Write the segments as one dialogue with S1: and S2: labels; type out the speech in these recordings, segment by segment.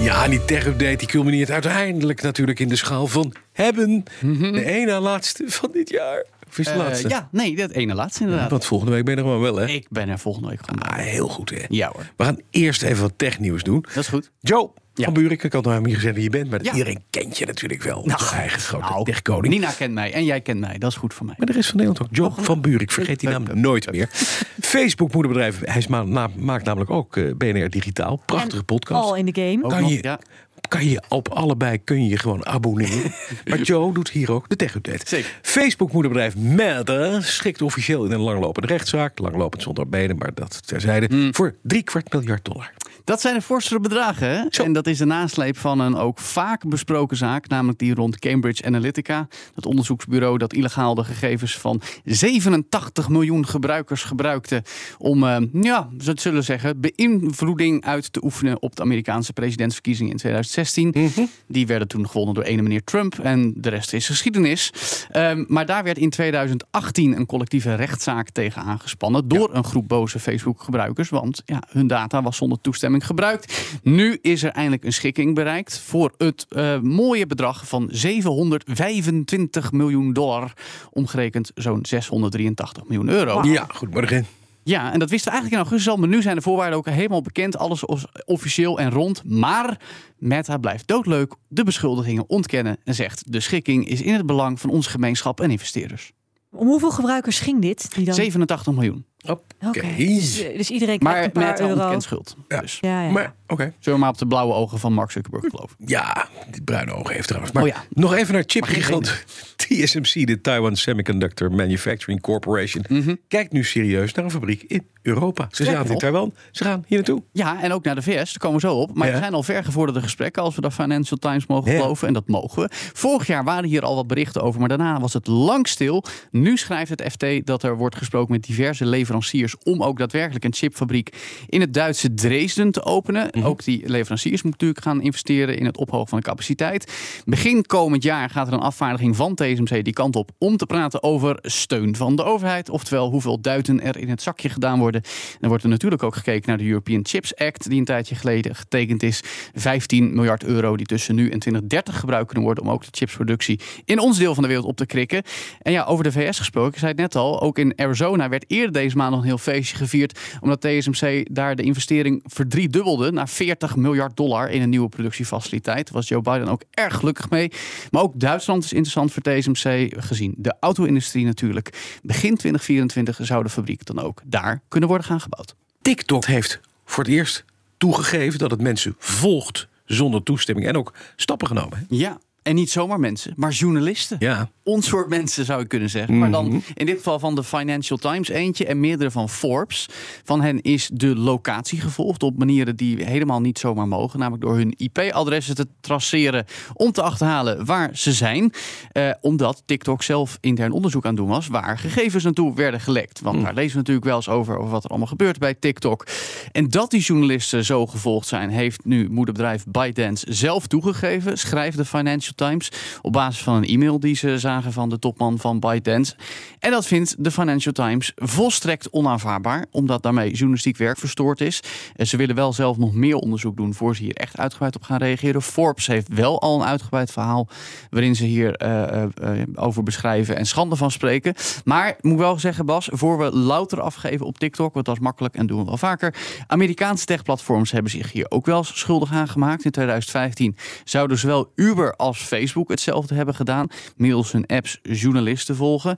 S1: Ja, en die tech-update die culmineert uiteindelijk natuurlijk in de schaal van hebben. De ene laatste van dit jaar. Of is de
S2: Mhm. Eh,
S1: laatste?
S2: ja, nee, dat ene laatste inderdaad.
S1: Want volgende week ben je er gewoon wel, hè?
S2: Ik ben er volgende week gewoon
S1: Ah,
S2: bij.
S1: heel goed, hè?
S2: Ja hoor.
S1: We gaan eerst even wat technieuws doen.
S2: Dat is goed.
S1: Joe
S2: Ja.
S1: van Buurik, ik had nou niet gezegd wie je bent, maar
S2: Ja.
S1: iedereen kent je natuurlijk wel. Nou, eigen grote
S2: Nou,
S1: techkoning.
S2: Nina kent mij en jij kent mij. Dat is goed voor mij.
S1: Maar de rest van Nederland ook.
S3: Oh.
S1: Job van Buurik, vergeet die naam nooit meer. Facebook moederbedrijf, hij is ma- na- maakt namelijk ook eh, BNR Digitaal. Prachtige podcast.
S3: Al in de game.
S2: Ook
S1: Kan
S2: nog,
S1: je,
S2: Oh, ja.
S1: kan je op allebei kun je je gewoon abonneren. maar Joe doet hier ook de tech-update.
S2: Zeker.
S1: Facebook-moederbedrijf Meta schikt officieel in een langlopende rechtszaak. Langlopend zonder benen, maar dat terzijde.
S2: Hmm.
S1: Voor drie kwart miljard dollar.
S2: Dat zijn de forsere bedragen. hè?
S1: Zo.
S2: En dat is de nasleep van een ook vaak besproken zaak, namelijk die rond Cambridge Analytica. Dat onderzoeksbureau dat illegaal de gegevens van 87 miljoen gebruikers gebruikte om, eh, ja, ze het zullen zeggen, beïnvloeding uit te oefenen op de Amerikaanse presidentsverkiezingen in 2016.
S1: Mhm.
S2: Die werden toen gewonnen door ene meneer Trump en de rest is geschiedenis. Ehm, maar daar werd in 2018 een collectieve rechtszaak tegen aangespannen door een groep boze Facebook-gebruikers, want ja, hun data was zonder toestemming gebruikt. Nu is er eindelijk een schikking bereikt voor het eh, mooie bedrag van 725 miljoen dollar, omgerekend zo'n 683 miljoen euro.
S1: Ja, goed, morgen.
S2: Ja, en dat wisten we eigenlijk in augustus al. Maar nu zijn de voorwaarden ook helemaal bekend. Alles is officieel en rond. Maar Meta blijft doodleuk de beschuldigingen ontkennen. En zegt de schikking is in het belang van onze gemeenschap en investeerders.
S3: Om hoeveel gebruikers ging dit? Die dan...
S2: 87 miljoen.
S1: Oké.
S3: Oké. Dus, dus iedereen krijgt
S2: Maar
S3: een paar
S2: Meta
S3: euro.
S2: ontkent schuld.
S1: Ja.
S2: Dus
S3: Ja, ja.
S1: Maar, oké.
S2: zullen we maar op de blauwe ogen van Mark Zuckerberg
S3: Hm.
S2: geloven.
S1: Ja, die bruine ogen heeft trouwens. Maar
S2: Oh ja.
S1: nog even naar
S2: geen
S1: chipgigant TSMC, de Taiwan Semiconductor Manufacturing Corporation. Kijkt nu serieus naar een fabriek in Europa. Ze
S2: Mhm. Sterker
S1: zaten in
S2: nog-
S1: Taiwan, ze gaan hier naartoe.
S2: Ja, en ook naar de VS, daar komen we zo op. Maar
S1: Ja.
S2: er zijn al vergevorderde gesprekken, als we de Financial Times mogen
S1: Ja.
S2: geloven. En dat mogen we. Vorig jaar waren hier al wat berichten over, maar daarna was het lang stil. Nu schrijft het FT dat er wordt gesproken met diverse leveranciers... om ook daadwerkelijk een chipfabriek in het Duitse Dresden te openen. Ook die leveranciers moeten natuurlijk gaan investeren in het ophogen van de capaciteit. Begin komend jaar gaat er een afvaardiging van TSMC die kant op... om te praten over steun van de overheid. Oftewel, hoeveel duiten er in het zakje gedaan worden. En dan wordt er natuurlijk ook gekeken naar de European Chips Act, die een tijdje geleden getekend is. 15 miljard euro die tussen nu en 2030 gebruikt kunnen worden om ook de chipsproductie in ons deel van de wereld op te krikken. En ja, over de VS gesproken, ik zei het net al, ook in Arizona werd eerder deze maand nog een heel feestje gevierd, omdat TSMC daar de investering verdriedubbelde naar 40 miljard dollar in een nieuwe productiefaciliteit. Daar was Joe Biden ook erg gelukkig mee. Maar ook Duitsland is interessant voor TSMC, gezien de auto-industrie natuurlijk. Begin 2024 zou de fabriek dan ook daar kunnen worden gaan gebouwd.
S1: TikTok heeft voor het eerst toegegeven dat het mensen volgt zonder toestemming. En ook stappen genomen. hè?
S2: Ja, en niet zomaar mensen, maar journalisten.
S1: Ja.
S2: Ons soort mensen zou je kunnen zeggen. Maar dan in dit geval van de Financial Times eentje en meerdere van Forbes. Van hen is de locatie gevolgd op manieren die helemaal niet zomaar mogen. Namelijk door hun IP-adressen te traceren om te achterhalen waar ze zijn. Eh, omdat TikTok zelf intern onderzoek aan het doen was waar gegevens naartoe werden gelekt. Want daar lezen we natuurlijk wel eens over, over wat er allemaal gebeurt bij TikTok. En dat die journalisten zo gevolgd zijn, heeft nu moederbedrijf ByteDance zelf toegegeven, schrijft de Financial Times. Op basis van een e-mail die ze zagen van de topman van ByteDance. En dat vindt de Financial Times volstrekt onaanvaardbaar, omdat daarmee journalistiek werk verstoord is. En ze willen wel zelf nog meer onderzoek doen voor ze hier echt uitgebreid op gaan reageren. Forbes heeft wel al een uitgebreid verhaal waarin ze hier eh, eh, eh, over beschrijven en schande van spreken. Maar ik moet wel zeggen, Bas, voor we louter afgeven op TikTok, want dat is makkelijk en doen we wel vaker. Amerikaanse techplatforms hebben zich hier ook wel schuldig aan gemaakt. In 2015 zouden zowel Uber als Facebook hetzelfde hebben gedaan, middels hun apps journalisten volgen.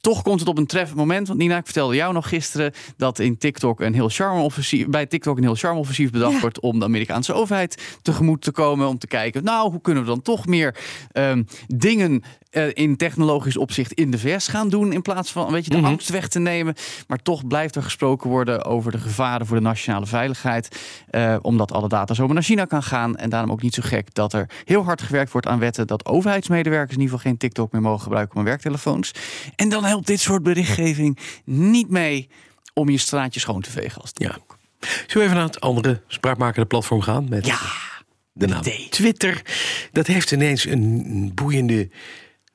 S2: Toch komt het op een treffend moment. Want Nina, ik vertelde jou nog gisteren dat in TikTok een heel charme-offensief, bij TikTok een heel charme-offensief bedacht
S3: Ja.
S2: wordt om de Amerikaanse overheid tegemoet te komen. Om te kijken, nou, hoe kunnen we dan toch meer ehm, dingen eh, in technologisch opzicht in de VS gaan doen. In plaats van weet je, de angst weg te nemen. Maar toch blijft er gesproken worden over de gevaren voor de nationale veiligheid. eh, omdat alle data zomaar naar China kan gaan. En daarom ook niet zo gek dat er heel hard gewerkt wordt aan wetten. dat overheidsmedewerkers in ieder geval geen TikTok meer mogen gebruiken op hun werktelefoons. En dan helpt dit soort berichtgeving niet mee om je straatje schoon te vegen. Als het
S1: Ja. Zullen we even naar het andere spraakmakende platform gaan? Met
S2: Ja,
S1: de naam
S2: met een T.
S1: Twitter. Dat heeft ineens een boeiende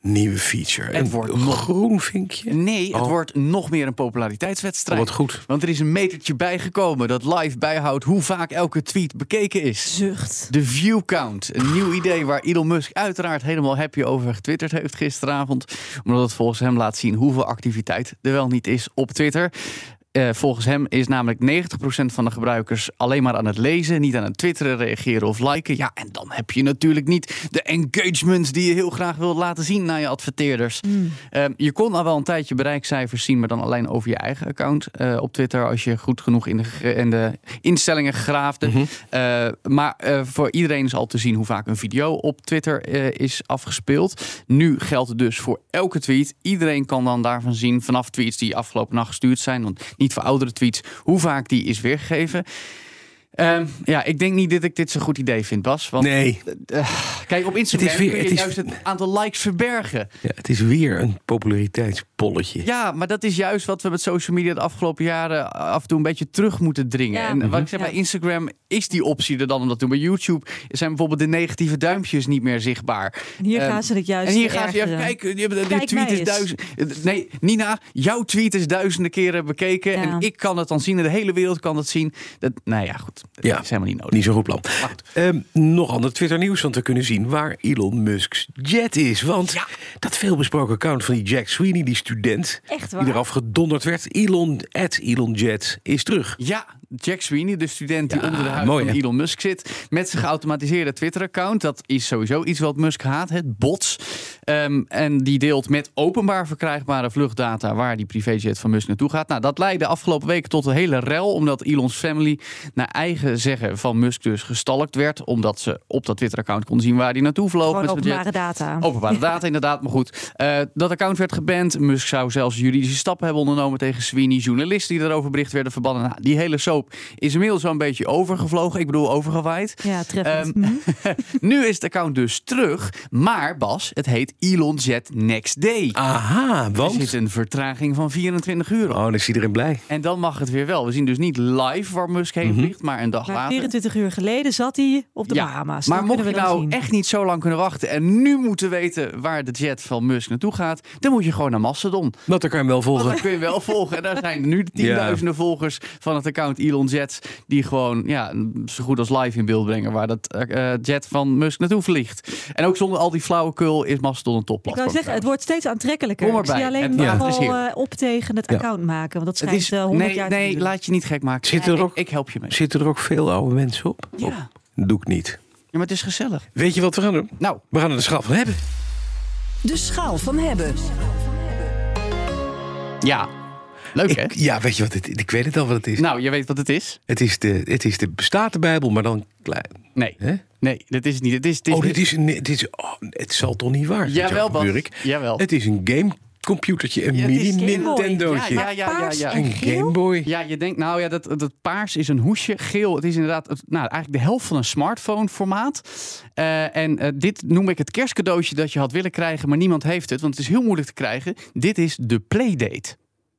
S1: nieuwe feature.
S2: Het
S1: een
S2: wordt
S1: groen vinkje.
S2: Nee, het
S1: Oh.
S2: wordt nog meer een populariteitswedstrijd.
S1: Oh, wat goed.
S2: Want er is een metertje bijgekomen dat live bijhoudt hoe vaak elke tweet bekeken is.
S3: Zucht.
S2: De view count, een nieuw idee waar Elon Musk uiteraard helemaal happy over getwitterd heeft gisteravond. Omdat het volgens hem laat zien hoeveel activiteit er wel niet is op Twitter. Eh, volgens hem is namelijk 90% van de gebruikers alleen maar aan het lezen, niet aan het twitteren, reageren of liken. Ja, en dan heb je natuurlijk niet de engagement die je heel graag wilt laten zien naar je adverteerders. Eh, je kon al wel een tijdje bereikcijfers zien, maar dan alleen over je eigen account eh, op Twitter. Als je goed genoeg in de, ge- in de instellingen graafde.
S1: Mhm.
S2: Eh, maar eh, voor iedereen is al te zien hoe vaak een video op Twitter eh, is afgespeeld. Nu geldt het dus voor elke tweet. Iedereen kan dan daarvan zien, vanaf tweets die afgelopen nacht gestuurd zijn, want niet voor oudere tweets, hoe vaak die is weergegeven. Ehm, ja, ik denk niet dat ik dit zo'n goed idee vind, Bas. Want eh,
S1: Nee,
S2: kijk, op Instagram
S1: Het is weer-
S2: kun je
S1: het is-
S2: juist het aantal likes verbergen.
S1: ja, het is weer een populariteitspolletje.
S2: Ja, maar dat is juist wat we met social media de afgelopen jaren af en toe een beetje terug moeten dringen.
S3: Ja. Mhm.
S2: En wat ik zeg, bij
S3: Ja.
S2: Instagram is die optie er dan om dat te doen. Bij YouTube zijn bijvoorbeeld de negatieve duimpjes niet meer zichtbaar.
S3: En hier
S2: Ehm,
S3: gaan ze het juist
S2: en hier gaan ze, ja,
S3: ergeren.
S2: kijk, je hebt-
S3: eh, Kijk
S2: dit tweet
S3: mij
S2: is
S3: eens.
S2: duizend. Nee, Nina, jouw tweet is duizenden keren bekeken.
S3: Ja.
S2: En ik kan het dan zien, en de hele wereld kan het zien. Dat, nou ja, goed. Dat
S1: Ja.
S2: is helemaal niet nodig.
S1: Niet zo'n goed plan. Ehm, nog ander Twitter nieuws, want we kunnen zien waar Elon Musk's jet is. Want
S2: Ja.
S1: dat veelbesproken account van die Jack Sweeney, die student...
S3: Echt waar?
S1: die eraf gedonderd werd, Elon, at Elon Jet, is terug.
S2: Ja, Jack Sweeney, de student die
S1: Ja,
S2: onder de huid
S1: mooi,
S2: van
S1: hè?
S2: Elon Musk zit. Met zijn geautomatiseerde Twitter-account. Dat is sowieso iets wat Musk haat, het bots. Ehm, en die deelt met openbaar verkrijgbare vluchtdata... waar die privéjet van Musk naartoe gaat. Nou, dat leidde afgelopen week tot een hele rel... omdat Elon's family naar eigen zeggen van Musk dus gestalkt werd... omdat ze op dat Twitter-account konden zien waar hij naartoe vloog.
S3: Gewoon
S2: met zijn jet.
S3: openbare data.
S2: Openbare data, inderdaad. Maar goed, Eh, dat account werd geband. Musk zou zelfs juridische stappen hebben ondernomen tegen Sweeney. Journalisten die daarover bericht werden verbannen. Nou, die hele soap is inmiddels wel een beetje overgevlogen. Ik bedoel, overgewaaid.
S3: Ja, treffend.
S2: Ehm,
S3: Hm.
S2: nu is het account dus terug. Maar Bas, het heet Elon Jet Next Day.
S1: Aha,
S2: Er zit
S1: want...
S2: een vertraging van 24 uur op.
S1: Oh, dan is iedereen blij.
S2: En dan mag het weer wel. We zien dus niet live waar Musk heen
S3: Mhm.
S2: vliegt, maar een dag
S3: Maar
S2: later.
S3: 24 uur geleden zat hij op de
S2: Ja,
S3: Bahama's.
S2: Maar
S3: Dat
S2: mocht je
S3: kunnen we dan
S2: nou
S3: zien.
S2: echt niet zo lang kunnen wachten en nu moeten weten waar de jet van Musk naartoe gaat, dan moet je gewoon naar Mastodon.
S1: Dat kan je hem wel volgen.
S2: Dat kun je wel volgen. En daar zijn nu de tienduizenden volgers van het account Elon Jets. Die gewoon ja, zo goed als live in beeld brengen waar dat eh, jet van Musk naartoe vliegt. En ook zonder al die flauwekul is Mastodon een
S3: Ik
S2: topplatform.
S3: wou zeggen, het
S2: trouwens.
S3: wordt steeds aantrekkelijker.
S2: Kom
S3: Ik zie
S2: erbij.
S3: alleen
S2: Het
S3: nog
S2: water is
S3: wel
S2: hier.
S3: eh, op tegen het
S1: Ja.
S3: account maken. Want dat
S2: Het
S3: schijnt
S2: is,
S3: eh, 100
S2: nee,
S3: jaar te
S2: nee
S3: duren.
S2: laat je niet gek maken.
S1: Zit er
S2: Ik-
S1: ook-
S2: Ik, help je mee.
S1: Zitten er ook veel oude mensen op?
S2: Ja.
S1: Op. Dat doe ik niet.
S2: Ja, maar het is gezellig.
S1: Weet je wat we gaan doen?
S2: Nou,
S1: We gaan er de schaal van hebben.
S4: De schaal van hebben.
S2: ja. Leuk hè?
S1: Ik, ja, weet je wat het is? Ik weet het al wat het is.
S2: Nou, je weet wat het is?
S1: Het is de, het is de Statenbijbel, maar dan klein.
S2: Nee.
S1: Hè?
S2: Nee, dat is het niet. Het is, het is
S1: oh,
S2: niet-
S1: dit is, een- dit is, oh, het zal toch niet waar zijn,
S2: Jawel,
S1: Jacob
S2: Bas.
S1: Burk?
S2: Jawel.
S1: Het is een gamecomputertje, een
S2: Ja, het is Game
S3: Boy.
S1: mini-Nintendootje.
S2: Ja, ja, ja, ja.
S1: Een Game Boy.
S2: Ja, je denkt, nou ja, dat, dat paars is een hoesje. Geel, het is inderdaad het, nou, eigenlijk de helft van een smartphone formaat. Eh, en eh, dit noem ik het kerstcadeautje dat je had willen krijgen, maar niemand heeft het, want het is heel moeilijk te krijgen. Dit is de Playdate.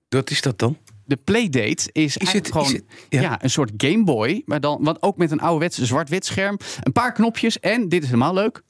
S1: Wat is dat dan?
S2: De Playdate is,
S1: het-
S2: eigenlijk
S1: is
S2: gewoon
S1: het- ja.
S2: ja. een soort Game Boy, maar dan want ook met een ouderwets zwart-wit scherm, een paar knopjes en, dit is helemaal leuk,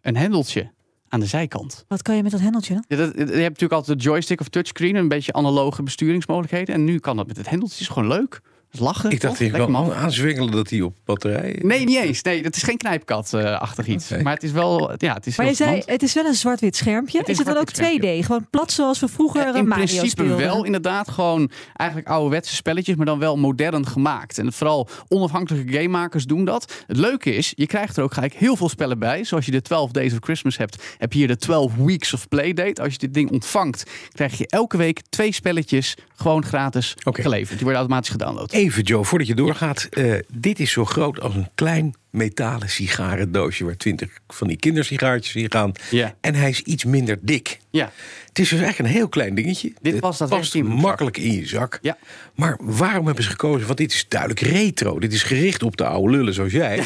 S2: een hendeltje aan de zijkant.
S3: Wat kan je met dat hendeltje dan?
S2: Ja, dat- je hebt natuurlijk altijd de joystick of touchscreen, een beetje analoge besturingsmogelijkheden. En nu kan dat met het hendeltje, is gewoon leuk. is lachen.
S1: Ik dacht
S2: toch?
S1: hier wel
S2: Lekker man.
S1: aanzwengelen dat hij op batterij...
S2: Nee, niet eens. Nee, dat is geen knijpkat-achtig iets.
S1: Oké.
S2: Maar het is wel. Ja, het is
S3: Maar je
S2: heel
S3: zei,
S2: gênant.
S3: het is wel een zwart-wit schermpje.
S2: Het is
S3: is het dan
S2: een
S3: ook 2D?
S2: zwart-wit
S3: Gewoon plat zoals we vroeger
S2: Ja,
S3: een
S2: in
S3: Mario
S2: principe
S3: speelden.
S2: wel. Inderdaad, gewoon eigenlijk ouderwetse spelletjes, maar dan wel modern gemaakt. En vooral onafhankelijke gamemakers doen dat. Het leuke is, je krijgt er ook gelijk heel veel spellen bij. Zoals je de 12 Days of Christmas hebt, heb je hier de 12 Weeks of Playdate. Als je dit ding ontvangt, krijg je elke week twee spelletjes gewoon gratis
S1: Oké.
S2: geleverd. Die worden automatisch gedownload.
S1: Even, Joe, voordat je doorgaat. eh, dit is zo groot als een klein metalen sigarendoosje... waar twintig van die kindersigaartjes in gaan.
S2: Ja.
S1: En hij is iets minder dik.
S2: Ja.
S1: Het is dus echt een heel klein dingetje.
S2: Dit
S1: Het
S2: past daadwerkelijk
S1: past
S2: in mijn zak.
S1: makkelijk in je zak.
S2: Ja.
S1: Maar waarom hebben ze gekozen? Want dit is duidelijk retro. Dit is gericht op de oude lullen zoals jij.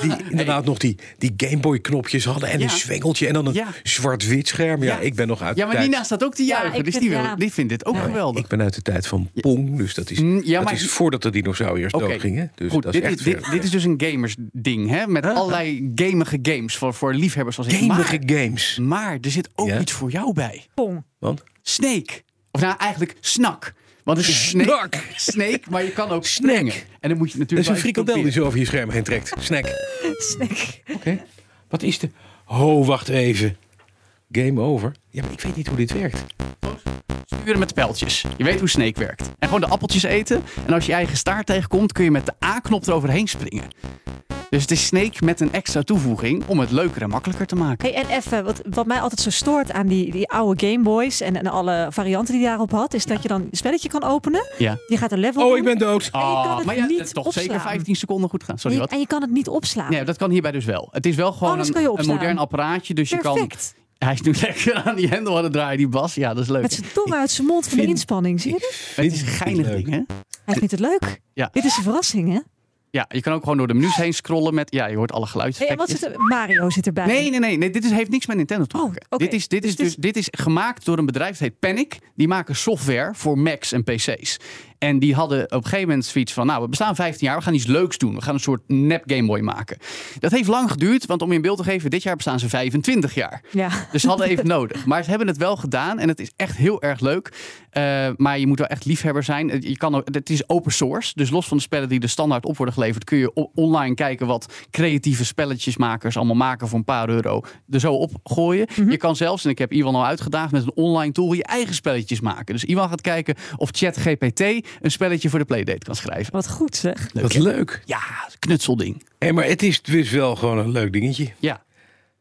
S1: Die inderdaad nog die, die Game Boy knopjes hadden. En
S2: Ja.
S1: een zwengeltje. En dan een
S2: Ja.
S1: zwart-wit scherm. Ja,
S2: Ja.
S1: ik ben nog uit
S2: Ja,
S1: de
S2: maar
S1: tijd.
S2: Nina staat ook te
S3: Ja,
S2: juichen.
S3: ik
S2: dus die,
S3: vind-
S2: wil,
S3: ja.
S2: die vindt dit ook geweldig.
S1: Ik ben uit de tijd van Pong. Dus dat is,
S2: Mm, ja,
S1: dat
S2: maar-
S1: is voordat de dinosauriërs
S2: Oké.
S1: doodgingen. Dus
S2: Goed,
S1: dat is
S2: dit,
S1: echt
S2: dit,
S1: ver.
S2: dit is dus een gamers ding, hè? Met allerlei gamige games voor, voor liefhebbers als ik.
S1: Gamige
S2: Maar,
S1: games.
S2: maar er zit ook
S1: Ja?
S2: iets voor jou bij.
S3: Pong.
S1: Want
S2: Snake. Of nou, eigenlijk snak. Want het is snake,
S1: Snak.
S2: snake, maar je kan ook
S1: Snack.
S2: springen. En dan moet je
S1: dat is
S2: natuurlijk
S1: een
S2: wel even
S1: frikandel die
S2: proberen.
S1: zo over je scherm heen trekt. Snack.
S3: Snack.
S1: Oké. Wat is de... Oh, wacht even. Game over. Ja, maar ik weet niet hoe dit werkt.
S2: Sturen met pijltjes. Je weet hoe snake werkt. En gewoon de appeltjes eten. En als je je eigen staart tegenkomt, kun je met de A-knop eroverheen springen. Dus het is snake met een extra toevoeging om het leuker en makkelijker te maken.
S3: Hey, en even, wat, wat mij altijd zo stoort aan die, die oude Game Boys en, en alle varianten die je daarop had, is dat je dan een spelletje kan openen.
S2: Ja.
S3: Je gaat een level
S1: Oh,
S3: doen
S1: ik ben dood.
S3: en je kan het
S2: Ah, maar ja,
S3: niet
S2: dat is toch
S3: opslaan.
S2: zeker 15 seconden goed gaan. Sorry,
S3: Je-
S2: wat?
S3: En je kan het niet opslaan.
S2: Nee, dat kan hierbij dus wel. Het is wel gewoon
S3: Alles kan je
S2: een, een
S3: opslaan.
S2: modern apparaatje. Dus je kan.
S3: Perfect.
S2: Hij is nu lekker aan die hendel aan het draaien, die Bas. Ja, dat is leuk.
S3: Met zijn tong uit zijn mond van de
S1: vind-
S3: inspanning, zie je? dat?
S2: Het is een geinig
S1: leuk.
S2: ding, hè?
S3: Hij vindt het leuk.
S2: Ja.
S3: Dit is een verrassing, hè?
S2: Ja, je kan ook gewoon door de menus heen scrollen met... Ja, je hoort alle
S3: Hey, en wat
S2: geluidseffectjes.
S3: zit er? Mario zit erbij.
S2: Nee, nee, nee, nee. Dit is, heeft niks met Nintendo te
S3: Oh,
S2: maken.
S3: oké.
S2: dit, is, dit, is
S3: Dus dit
S2: dus, dit is gemaakt door een bedrijf, dat heet Panic. Die maken software voor Macs en PC's. En die hadden op een gegeven moment zoiets van... Nou, we bestaan 15 jaar, we gaan iets leuks doen. We gaan een soort nep Game Boy maken. Dat heeft lang geduurd, want om je een beeld te geven... dit jaar bestaan ze 25 jaar.
S3: Ja.
S2: Dus ze hadden even nodig. Maar ze hebben het wel gedaan en het is echt heel erg leuk. Eh, maar je moet wel echt liefhebber zijn. Eh, Je kan, ook- het is open source. Dus los van de spellen die er standaard op worden geleverd, kun je o- online kijken wat creatieve spelletjesmakers allemaal maken voor een paar euro. Er zo op gooien.
S1: Mhm.
S2: Je kan zelfs, en ik heb Ivan al uitgedaagd, met een online tool je eigen spelletjes maken. Dus Ivan gaat kijken of ChatGPT een spelletje voor de Playdate kan schrijven.
S3: Wat goed zeg.
S1: Wat leuk.
S2: Ja, knutselding.
S1: Hé, maar het is dus wel gewoon een leuk dingetje.
S2: Ja.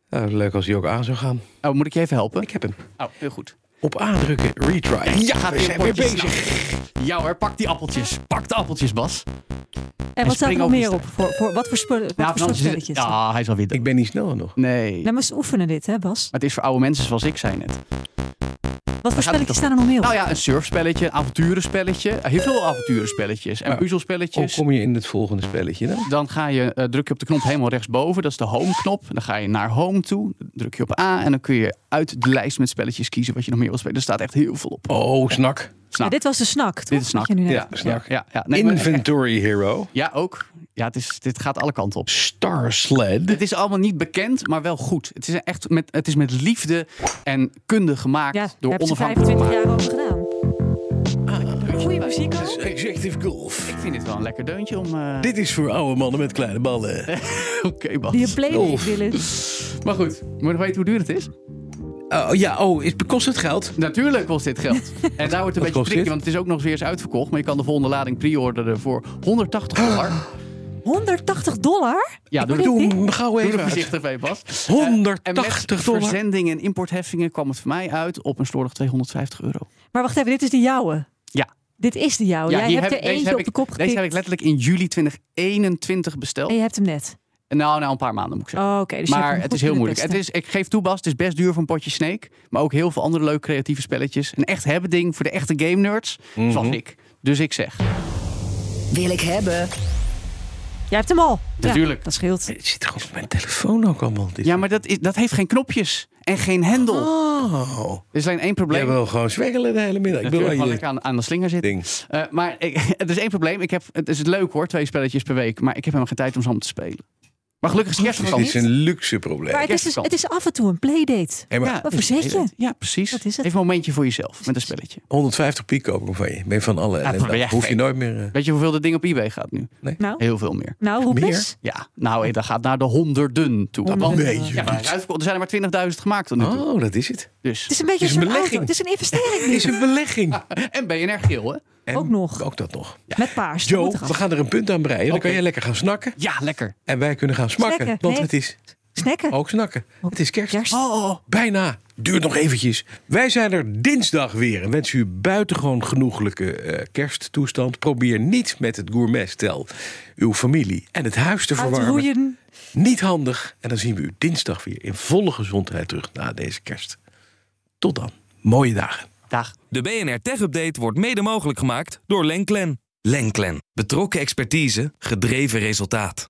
S1: Nou, leuk als hij ook aan zou gaan.
S2: Oh, moet ik je even helpen?
S1: Ik heb hem.
S2: Oh, heel goed.
S1: Op aandrukken, retry.
S2: Ja, gaat
S1: we zijn weer bezig.
S2: Ja hoor, pak die appeltjes. Pak de appeltjes, Bas.
S3: En wat staat er
S2: spring
S3: nog
S2: over de
S3: meer op? Voor, voor, wat voor, spul- wat voor
S2: Ja,
S3: soort spelletjes?
S2: ja, hij Nou, is alweer
S1: Ik ben niet sneller nog. Oh,
S2: Nee.
S3: Nou, maar ze oefenen dit, hè Bas?
S2: Maar het is voor oude mensen zoals ik zijn het.
S3: Wat voor
S2: gaat het
S3: spelletjes staan er nog meer op?
S2: Nou ja, een surfspelletje, een avonturenspelletje. Heel veel avonturenspelletjes en
S1: Maar Hoe
S2: puzzelspelletjes.
S1: kom je in het volgende spelletje dan?
S2: Dan ga je, eh, druk je op de knop helemaal rechtsboven. Dat is de home-knop. Dan ga je naar home toe. Dan Druk je op A. En dan kun je uit de lijst met spelletjes kiezen wat je nog meer wilt spelen. Er staat echt heel veel op.
S1: Oh, snak.
S3: Ja,
S2: Snap.
S3: dit was de snack, toch?
S2: Dit is snack,
S3: Wat je nu net-
S1: Ja, snak.
S2: ja, ja. Nee, maar-
S1: Inventory Hero.
S2: ja, ook. Ja, het is, dit gaat alle kanten op.
S1: Star Sled.
S2: Het is allemaal niet bekend, maar wel goed. Het is echt met, het is met liefde en kunde gemaakt
S3: Ja, daar
S2: door
S3: hebben ze
S2: onafhankelijke
S3: 25
S2: makers.
S3: jaar over gedaan. Goeie muziek ook.
S1: Executive Golf.
S2: Ik vind dit wel een lekker deuntje om. eh,
S1: Dit is voor oude mannen met kleine ballen.
S2: Oké, Bas.
S3: Die je playdate
S1: Golf.
S3: willen.
S2: Maar goed, moet je nog weten hoe duur het is?
S1: Oh ja, oh, is- kost het geld?
S2: Natuurlijk kost dit geld. En daar wordt een
S1: Wat
S2: beetje
S1: kost dit?
S2: tricky, want het is ook nog eens weer eens uitverkocht. Maar je kan de volgende lading pre-orderen voor 180 dollar.
S3: 180 dollar?
S2: Ja, doe, doe,
S1: Doe hem gauw
S2: doe
S1: even
S2: er
S1: uit.
S2: voorzichtig mee, Bas. Eh,
S1: 180
S2: en met
S1: dollar.
S2: verzending en importheffingen kwam het voor mij uit op een slordig 250 euro.
S3: Maar wacht even, dit is de jouwe.
S2: Ja.
S3: Dit is de jouwe. Oh, Jij
S2: hier
S3: hebt
S2: heb-
S3: er eentje
S2: heb
S3: op de
S2: ik-
S3: kop gepikt.
S2: Deze heb ik letterlijk in juli 2021 besteld.
S3: En je hebt hem net.
S2: En Nou, nou een paar maanden moet ik zeggen.
S3: Oh, Oké, dus je hebt
S2: maar
S3: hem
S2: het
S3: goed
S2: is heel
S3: kunnen
S2: moeilijk. Het
S3: testen.
S2: is, ik geef toe, Bas, het is best duur voor een potje Snake. Maar ook heel veel andere leuke creatieve spelletjes. Een echt hebben ding voor de echte game nerds.
S1: Mhm.
S2: Zoals ik. Dus ik zeg,
S4: Wil ik hebben.
S3: Jij hebt hem al. Ja,
S2: Natuurlijk. Eh,
S3: dat scheelt.
S1: Het zit gewoon op mijn telefoon ook allemaal. Dit.
S2: ja, maar dat, is, dat heeft geen knopjes en geen hendel.
S1: Oh.
S2: Er is alleen één
S1: Jij
S2: probleem.
S1: wil gewoon zwergelen de hele middag. Ik wil
S2: Natuurlijk,
S1: aan
S2: gewoon
S1: je
S2: lekker aan, aan de slinger zitten.
S1: ding.
S2: Eh, maar ik, het is één probleem. Ik heb, het is leuk hoor, twee spelletjes per week. Maar ik heb helemaal geen tijd om ze allemaal te spelen. Maar gelukkig is
S1: Dit is
S2: kerstvakantie.
S1: een luxe probleem.
S3: Maar het is, dus, het is af en toe een playdate.
S2: Eh,
S1: Hey, maar
S3: Wat verzet je?
S2: Ja, precies.
S3: Dat is het.
S2: Even een momentje voor jezelf met een spelletje.
S1: 150 piek kopen we van je. Ben je van alle ellende.
S2: ben jij
S1: af. Hoef je
S2: gek.
S1: nooit meer... eh,
S2: Weet je hoeveel dat ding op eBay gaat nu?
S3: Nou,
S2: Heel veel meer.
S3: nou roep
S1: Meer?
S3: eens.
S2: Ja, nou, dat gaat naar de honderden toe.
S3: Honderden.
S1: Nee,
S2: Ja, maar uitverkocht. er zijn er maar 20.000 gemaakt tot nu toe.
S1: Oh, dat is het.
S3: Het is
S2: Dus.
S3: een beetje
S1: Het is een
S3: zo'n auto.
S1: belegging.
S3: Het is een investering
S1: Het is een belegging.
S2: En BNR Geel, hè?
S1: En
S3: Ook nog.
S1: Ook dat nog.
S3: met paars. Dat
S1: Joe,
S3: moet er
S1: we
S3: af.
S1: gaan er een punt aan breien. Dan
S2: Oké.
S1: kan jij lekker gaan snakken.
S2: Ja, lekker.
S1: En wij kunnen gaan smakken.
S3: Snacken,
S1: Want
S3: nee.
S1: het is
S3: Snacken.
S1: ook snakken. Het is kerst.
S3: Kerst.
S2: Oh, oh.
S1: Bijna. Duurt nog eventjes. Wij zijn er dinsdag weer en wensen u buitengewoon genoeglijke eh, kersttoestand. Probeer niet met het gourmetstel uw familie en het huis te verwarmen.
S3: Uitroeien.
S1: Niet handig. En dan zien we u dinsdag weer in volle gezondheid terug na deze kerst. Tot dan. Mooie dagen.
S2: Dag.
S5: De BNR Tech Update wordt mede mogelijk gemaakt door Lenklen. Lenklen. Betrokken expertise, gedreven resultaat.